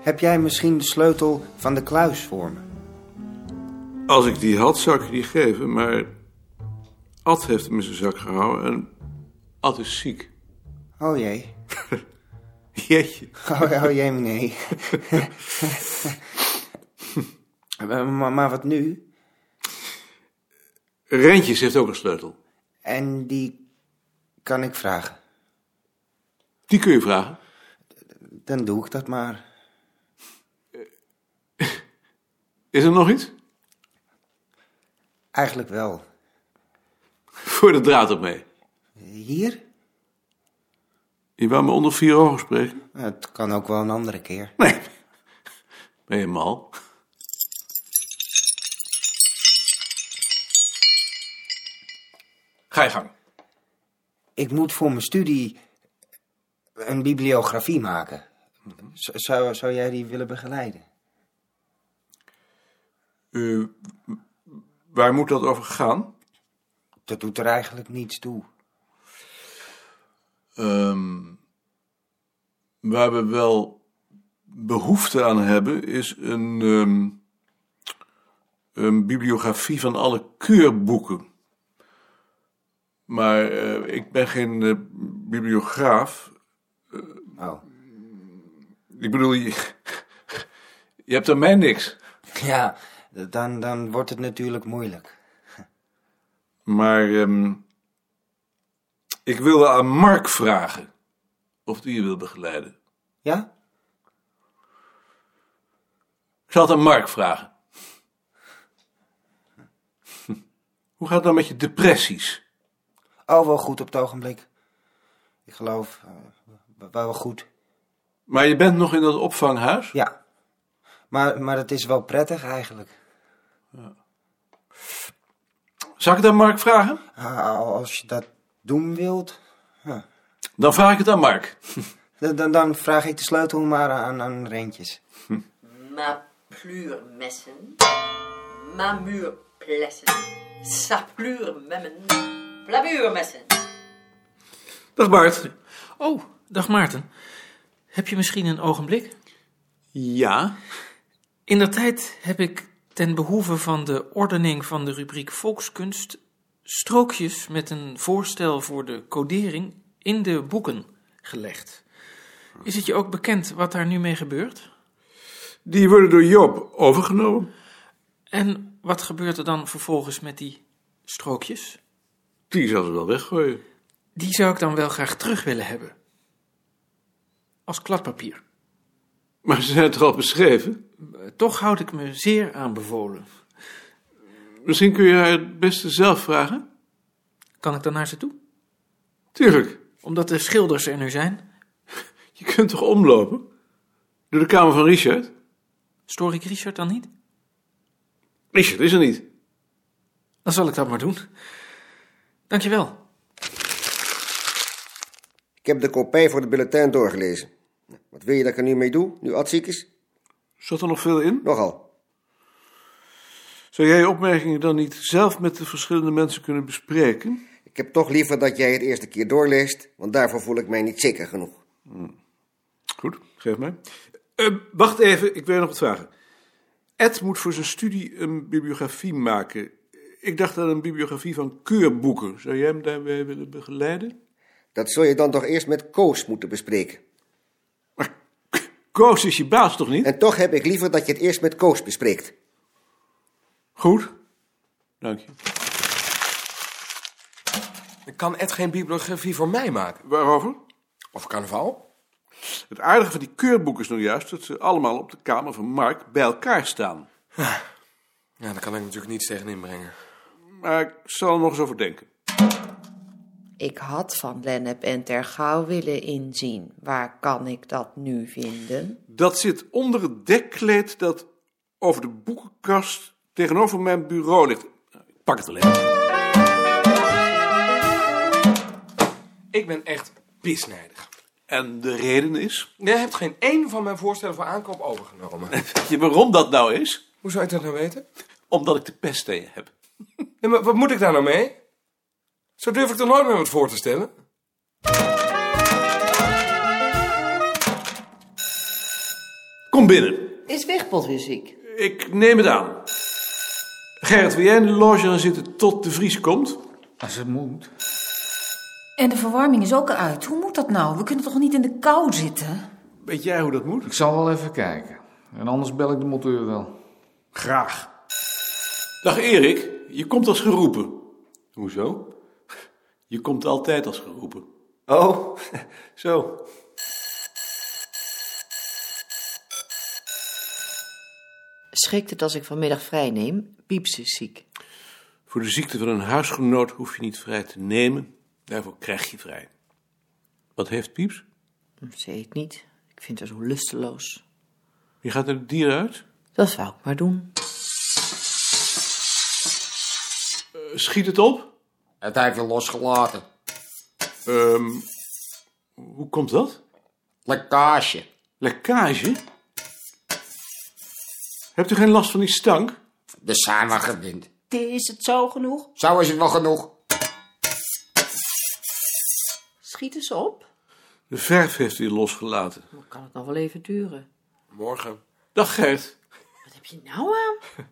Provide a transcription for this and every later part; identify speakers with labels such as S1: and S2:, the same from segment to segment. S1: Heb jij misschien de sleutel van de kluis voor me?
S2: Als ik die had, zou ik je die geven, maar Ad heeft hem in zijn zak gehouden en Ad is ziek.
S1: Oh jee.
S2: Jeetje.
S1: Oh, oh jee, nee. Eh, maar, maar wat nu?
S2: Rentjes heeft ook een sleutel.
S1: En die kan ik vragen.
S2: Die kun je vragen.
S1: Dan doe ik dat maar.
S2: Is er nog iets?
S1: Eigenlijk wel.
S2: Voor de draad op mee.
S1: Hier?
S2: Je wou me onder vier ogen spreken?
S1: Het kan ook wel een andere keer.
S2: Nee. Ben je mal?
S3: Ga je gang.
S1: Ik moet voor mijn studie een bibliografie maken. Z- Zou, zou jij die willen begeleiden?
S2: Eh, w- waar moet dat over gaan?
S1: Dat doet er eigenlijk niets toe.
S2: Ehm, waar we wel behoefte aan hebben, is een, ehm, een bibliografie van alle keurboeken. Maar eh, ik ben geen eh, bibliograaf.
S1: Oh.
S2: Ik bedoel, je, je hebt aan mij niks.
S1: Ja, dan, dan wordt het natuurlijk moeilijk.
S2: Maar ehm, ik wilde aan Mark vragen of die je wil begeleiden.
S1: Ja?
S2: Ik zal het aan Mark vragen. Hoe gaat het dan met je depressies?
S1: Oh, wel goed op het ogenblik. Ik geloof, eh, wel- wel goed.
S2: Maar je bent nog in dat opvanghuis?
S1: Ja. Maar, maar het is wel prettig eigenlijk.
S2: Zal ik het aan Mark vragen?
S1: Ah, Als je dat doen wilt,
S2: Dan vraag ik het aan Mark.
S1: dan, dan- dan vraag ik de sleutel maar aan, aan Rentjes.
S4: Mapluurmessen. Mamuurplessen. Sapluurmemmen. Plabuurmessen.
S2: Dag Bart.
S3: Oh, dag Maarten. Heb je misschien een ogenblik?
S2: Ja?
S3: In der tijd heb ik ten behoeve van de ordening van de rubriek Volkskunst strookjes met een voorstel voor de codering in de boeken gelegd. Is het je ook bekend wat daar nu mee gebeurt?
S2: Die worden door Job overgenomen.
S3: En wat gebeurt er dan vervolgens met die strookjes?
S2: Die zal ze wel weggooien.
S3: Die zou ik dan wel graag terug willen hebben. Als kladpapier.
S2: Maar ze zijn toch al beschreven?
S3: Eh, Toch houd ik me zeer aanbevolen.
S2: Misschien kun je haar het beste zelf vragen?
S3: Kan ik dan naar ze toe?
S2: Tuurlijk.
S3: Omdat de schilders er nu zijn.
S2: Je kunt toch omlopen? Door de kamer van Richard?
S3: Stoor ik Richard dan niet?
S2: Richard is er niet.
S3: Dan zal ik dat maar doen. Dankjewel.
S5: Ik heb de kopij voor de bulletin doorgelezen. Wat wil je dat ik er nu mee doe, nu Ad ziek is?
S2: Zat er nog veel in?
S5: Nogal.
S2: Zou jij je opmerkingen dan niet zelf met de verschillende mensen kunnen bespreken?
S5: Ik heb toch liever dat jij het eerste keer doorleest, want daarvoor voel ik mij niet zeker genoeg.
S2: Goed, geef mij. Eh, wacht even, ik wil je nog wat vragen. Ed moet voor zijn studie een bibliografie maken. Ik dacht aan een bibliografie van keurboeken. Zou jij hem daarbij willen begeleiden?
S5: Dat zul je dan toch eerst met Koos moeten bespreken.
S2: Koos is je baas toch niet?
S5: En toch heb ik liever dat je het eerst met Koos bespreekt.
S2: Goed. Dank je.
S6: Kan Ed geen bibliografie voor mij maken?
S2: Waarover?
S6: Of carnaval?
S2: Het aardige van die keurboeken is nou juist dat ze allemaal op de kamer van Mark bij elkaar staan.
S6: Ja, daar kan ik natuurlijk niets tegen inbrengen.
S2: Maar ik zal er nog eens over denken.
S7: Ik had van Lennep en Tergouw willen inzien. Waar kan ik dat nu vinden?
S2: Dat zit onder het dekkleed dat over de boekenkast tegenover mijn bureau ligt. Ik pak het alleen.
S6: Ik ben echt pisnijdig.
S2: En de reden is.
S6: Jij hebt geen één van mijn voorstellen voor aankoop overgenomen.
S2: Weet je waarom dat nou is?
S6: Hoe zou je dat nou weten?
S2: Omdat ik de pest tegen je heb.
S6: Ja, maar wat moet ik daar nou mee? Zo durf ik toch nooit meer wat voor te stellen?
S2: Kom Kom binnen.
S7: Is Wichtbold weer ziek?
S2: Ik neem het aan. Gerrit, wil jij in de loge gaan zitten tot de Vries komt?
S8: Als het moet.
S9: En de verwarming is ook uit. Hoe moet dat nou? We kunnen toch niet in de kou zitten?
S2: Weet jij hoe dat moet?
S8: Ik zal wel even kijken. En anders bel ik de monteur wel.
S2: Graag. Dag Erik, je komt als geroepen. Hoezo? Je komt altijd als geroepen.
S1: Oh, zo.
S7: Schikt het als ik vanmiddag vrij neem? Pieps is ziek.
S2: Voor de ziekte van een huisgenoot hoef je niet vrij te nemen. Daarvoor krijg je vrij. Wat heeft Pieps?
S7: Hm, Ze eet niet. Ik vind haar zo lusteloos.
S2: Je gaat er het dier uit?
S7: Dat zou ik maar doen.
S2: Eh, Schiet het op?
S8: Het heeft je losgelaten.
S2: Ehm, hoe komt dat?
S8: Lekkage.
S2: Lekkage? Hebt u geen last van die stank?
S8: De samengebind. gewint.
S9: Is het zo genoeg?
S8: Zo is het wel genoeg.
S7: Schiet eens op.
S2: De verf heeft u losgelaten.
S7: Dan kan het nog wel even duren.
S6: Morgen.
S2: Dag Gert.
S7: Wat heb je nou aan?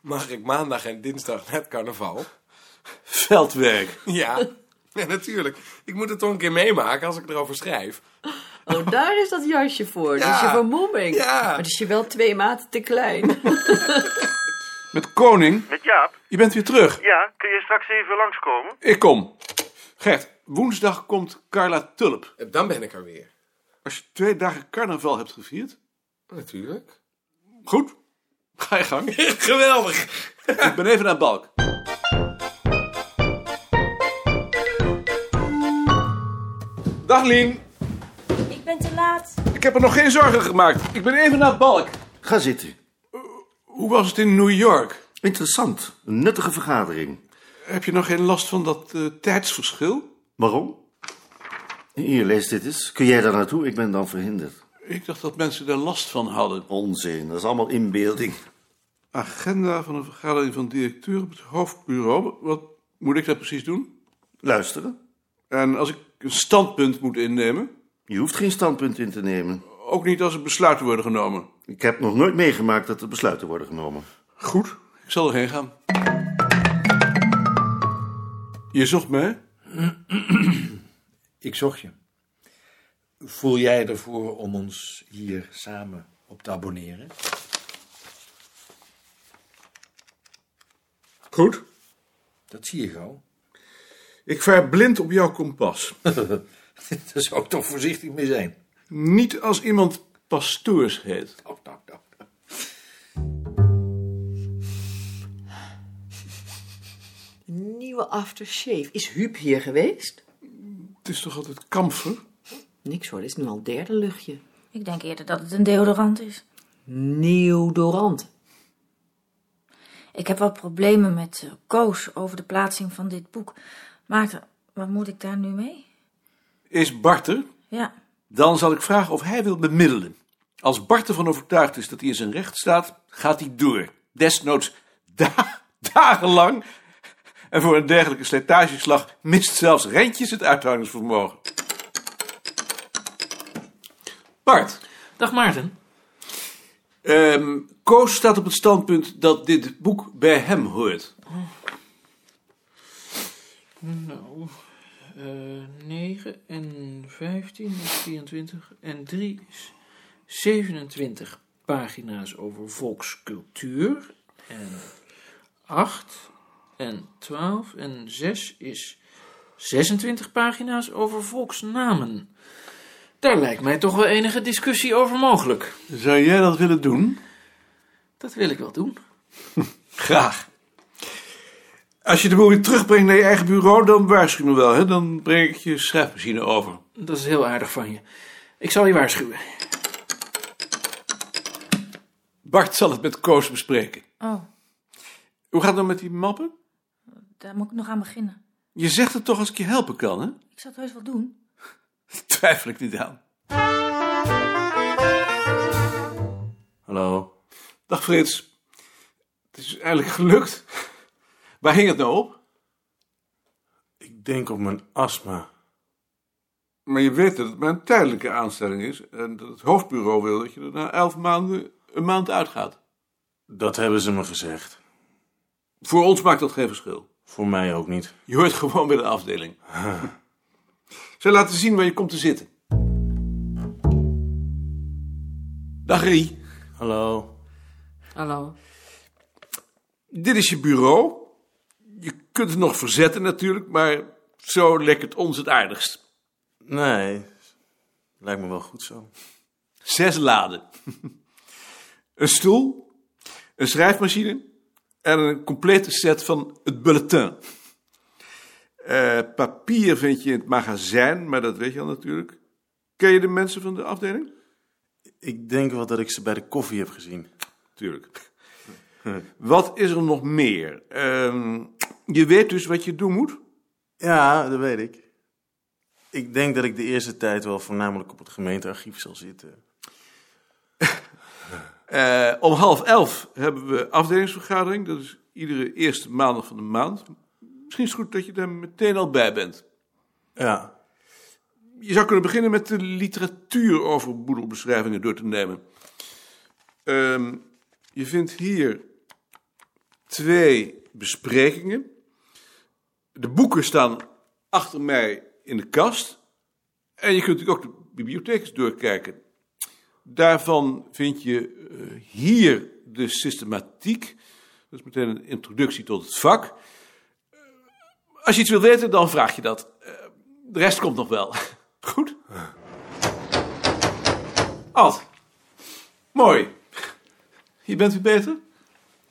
S6: Mag ik maandag en dinsdag net carnaval?
S2: Veldwerk.
S6: Ja. ja, natuurlijk. Ik moet het toch een keer meemaken als ik erover schrijf.
S10: Oh, daar is dat jasje voor.
S6: Ja.
S10: Dus je vermomming.
S6: Ja.
S10: Maar dat is je wel twee maten te klein.
S2: Met Koning,
S11: Met Jaap?
S2: je bent weer terug.
S11: Ja, kun je straks even langskomen?
S2: Ik kom. Gert, woensdag komt Carla Tulp.
S6: Dan ben ik er weer.
S2: Als je twee dagen carnaval hebt gevierd.
S6: Natuurlijk.
S2: Goed, ga je gang.
S6: Geweldig.
S2: Ik ben even naar Balk. Dag Lien.
S9: Ik ben te laat.
S2: Ik heb er nog geen zorgen gemaakt. Ik ben even naar Balk.
S12: Ga zitten.
S2: Hoe was het in New York?
S12: Interessant. Een nuttige vergadering.
S2: Heb je nog geen last van dat eh, tijdsverschil?
S12: Waarom? Hier, lees dit eens. Kun jij daar naartoe? Ik ben dan verhinderd.
S2: Ik dacht dat mensen daar last van hadden.
S12: Onzin, dat is allemaal inbeelding.
S2: Agenda van een vergadering van directeur op het hoofdbureau. Wat moet ik daar precies doen?
S12: Luisteren.
S2: En als ik een standpunt moet innemen?
S12: Je hoeft geen standpunt in te nemen.
S2: Ook niet als er besluiten worden genomen.
S12: Ik heb nog nooit meegemaakt dat er besluiten worden genomen.
S2: Goed, ik zal erheen gaan. Je zocht mij?
S13: Ik zocht je. Voel jij ervoor om ons hier samen op te abonneren?
S2: Goed.
S13: Dat zie je gauw.
S2: Ik vaar blind op jouw kompas.
S13: Daar zou ik toch voorzichtig mee zijn.
S2: Niet als iemand pastoors heet.
S13: Nou, nou, nou.
S10: Nieuwe aftershave. Is Huub hier geweest?
S2: Het is toch altijd kamfer?
S10: Niks hoor, dit is nu al het derde luchtje.
S9: Ik denk eerder dat het een deodorant is.
S10: Neodorant.
S9: Ik heb wat problemen met eh, Koos over de plaatsing van dit boek. Maarten, wat moet ik daar nu mee?
S2: Is Bart er?
S9: Ja,
S2: Dan zal ik vragen of hij wil bemiddelen. Als Bart ervan overtuigd is dat hij in zijn recht staat, gaat hij door. Desnoods da- dagenlang. En voor een dergelijke slijtageslag mist zelfs Rentjes het uithoudingsvermogen. Bart,
S3: Dag Maarten.
S2: ehm, Koos staat op het standpunt dat dit boek bij hem hoort.
S3: Nou, eh 9 en 15 is 24 en 3 is 27 pagina's over volkscultuur. En 8 en 12 en 6 is 26 pagina's over volksnamen. Daar lijkt mij toch wel enige discussie over mogelijk.
S2: Zou jij dat willen doen?
S3: Dat wil ik wel doen.
S2: Graag. Als je de boel weer terugbrengt naar je eigen bureau, dan waarschuw me wel. Hè? Dan breng ik je schrijfmachine over.
S3: Dat is heel aardig van je. Ik zal je waarschuwen.
S2: Bart zal het met Koos bespreken.
S9: oh,
S2: Hoe gaat het nou met die mappen?
S9: daar moet ik nog aan beginnen.
S2: Je zegt het toch als ik je helpen kan, hè?
S9: Ik zal het heus wel doen.
S2: Twijfel ik niet aan. Hallo. Dag Frits. Het is eindelijk gelukt. Waar hing het nou op?
S11: Ik denk op mijn astma.
S2: Maar je weet dat het maar een tijdelijke aanstelling is en dat het hoofdbureau wil dat je er na elf maanden een maand uitgaat.
S14: Dat hebben ze me gezegd.
S2: Voor ons maakt dat geen verschil.
S14: Voor mij ook niet.
S2: Je hoort gewoon bij de afdeling. Ze laten zien waar je komt te zitten. Dag Rie.
S14: Hallo.
S7: Hallo.
S2: Dit is je bureau. Je kunt het nog verzetten natuurlijk, maar zo lekker het ons het aardigst.
S14: Nee, lijkt me wel goed zo.
S2: Zes laden. een stoel, een schrijfmachine en een complete set van het bulletin. Eh, papier vind je in het magazijn, maar dat weet je al natuurlijk. Ken je de mensen van de afdeling?
S14: Ik denk wel dat ik ze bij de koffie heb gezien.
S2: Tuurlijk. Wat is er nog meer? Ehm, je weet dus wat je doen moet?
S14: Ja, dat weet ik. Ik denk dat ik de eerste tijd wel voornamelijk op het gemeentearchief zal zitten.
S2: Eh, om half elf hebben we afdelingsvergadering. Dat is iedere eerste maandag van de maand. Misschien is het goed dat je daar meteen al bij bent.
S14: Ja.
S2: Je zou kunnen beginnen met de literatuur over boedelbeschrijvingen door te nemen. Ehm, je vindt hier twee besprekingen. De boeken staan achter mij in de kast. En je kunt natuurlijk ook de bibliotheek eens doorkijken. Daarvan vind je eh, hier de systematiek. Dat is meteen een introductie tot het vak. Eh, als je iets wil weten, dan vraag je dat. Eh, de rest komt nog wel. Goed? Ad. Mooi. Je bent weer beter?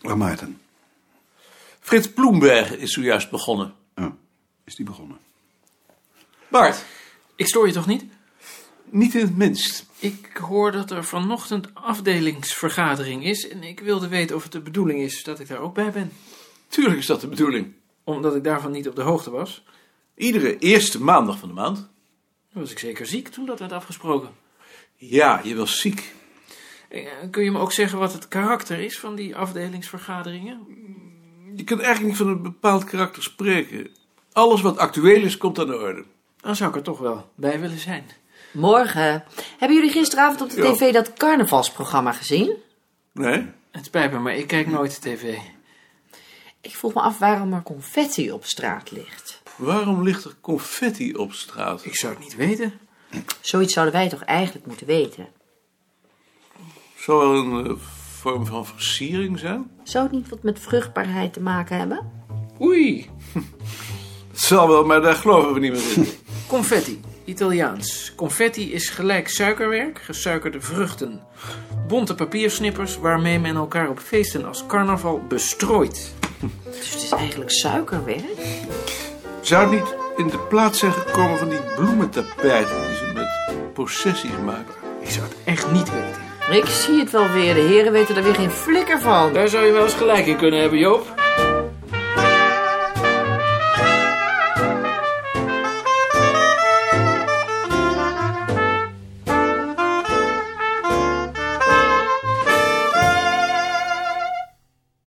S15: Waar Maarten?
S2: Frits Bloembergen is zojuist begonnen.
S15: Oh, Is die begonnen?
S2: Bart,
S3: ik stoor je toch niet?
S2: Niet in het minst.
S3: Ik hoor dat er vanochtend afdelingsvergadering is en ik wilde weten of het de bedoeling is dat ik daar ook bij ben.
S2: Tuurlijk is dat de bedoeling.
S3: Omdat ik daarvan niet op de hoogte was.
S2: Iedere eerste maandag van de maand.
S3: Dan was ik zeker ziek toen dat werd afgesproken.
S2: Ja, je was ziek.
S3: Eh, Kun je me ook zeggen wat het karakter is van die afdelingsvergaderingen?
S2: Je kunt eigenlijk niet van een bepaald karakter spreken. Alles wat actueel is, komt aan de orde.
S3: Dan zou ik er toch wel bij willen zijn.
S10: Morgen. Hebben jullie gisteravond op de
S2: Ja.
S10: tv dat carnavalsprogramma gezien?
S2: Nee?
S3: Het spijt me, maar ik kijk nooit tv.
S10: Ik vroeg me af waarom er confetti op straat ligt.
S2: Waarom ligt er confetti op straat?
S3: Ik zou het niet weten.
S10: Zoiets zouden wij toch eigenlijk moeten weten?
S2: Zou wel een eh, vorm van versiering zijn?
S10: Zou het niet wat met vruchtbaarheid te maken hebben?
S3: Oei.
S2: Het zal wel, maar daar geloven we niet meer in.
S3: Confetti, Italiaans. Confetti is gelijk suikerwerk, gesuikerde vruchten. Bonte papiersnippers waarmee men elkaar op feesten als carnaval bestrooit.
S10: Dus het is eigenlijk suikerwerk?
S2: Zou het niet in de plaats zijn gekomen van die bloementapijten die ze met processies maken?
S3: Ik zou het echt niet weten.
S10: Ik zie het wel weer. De heren weten er weer geen flikker van.
S3: Daar zou je wel eens gelijk in kunnen hebben, Joop.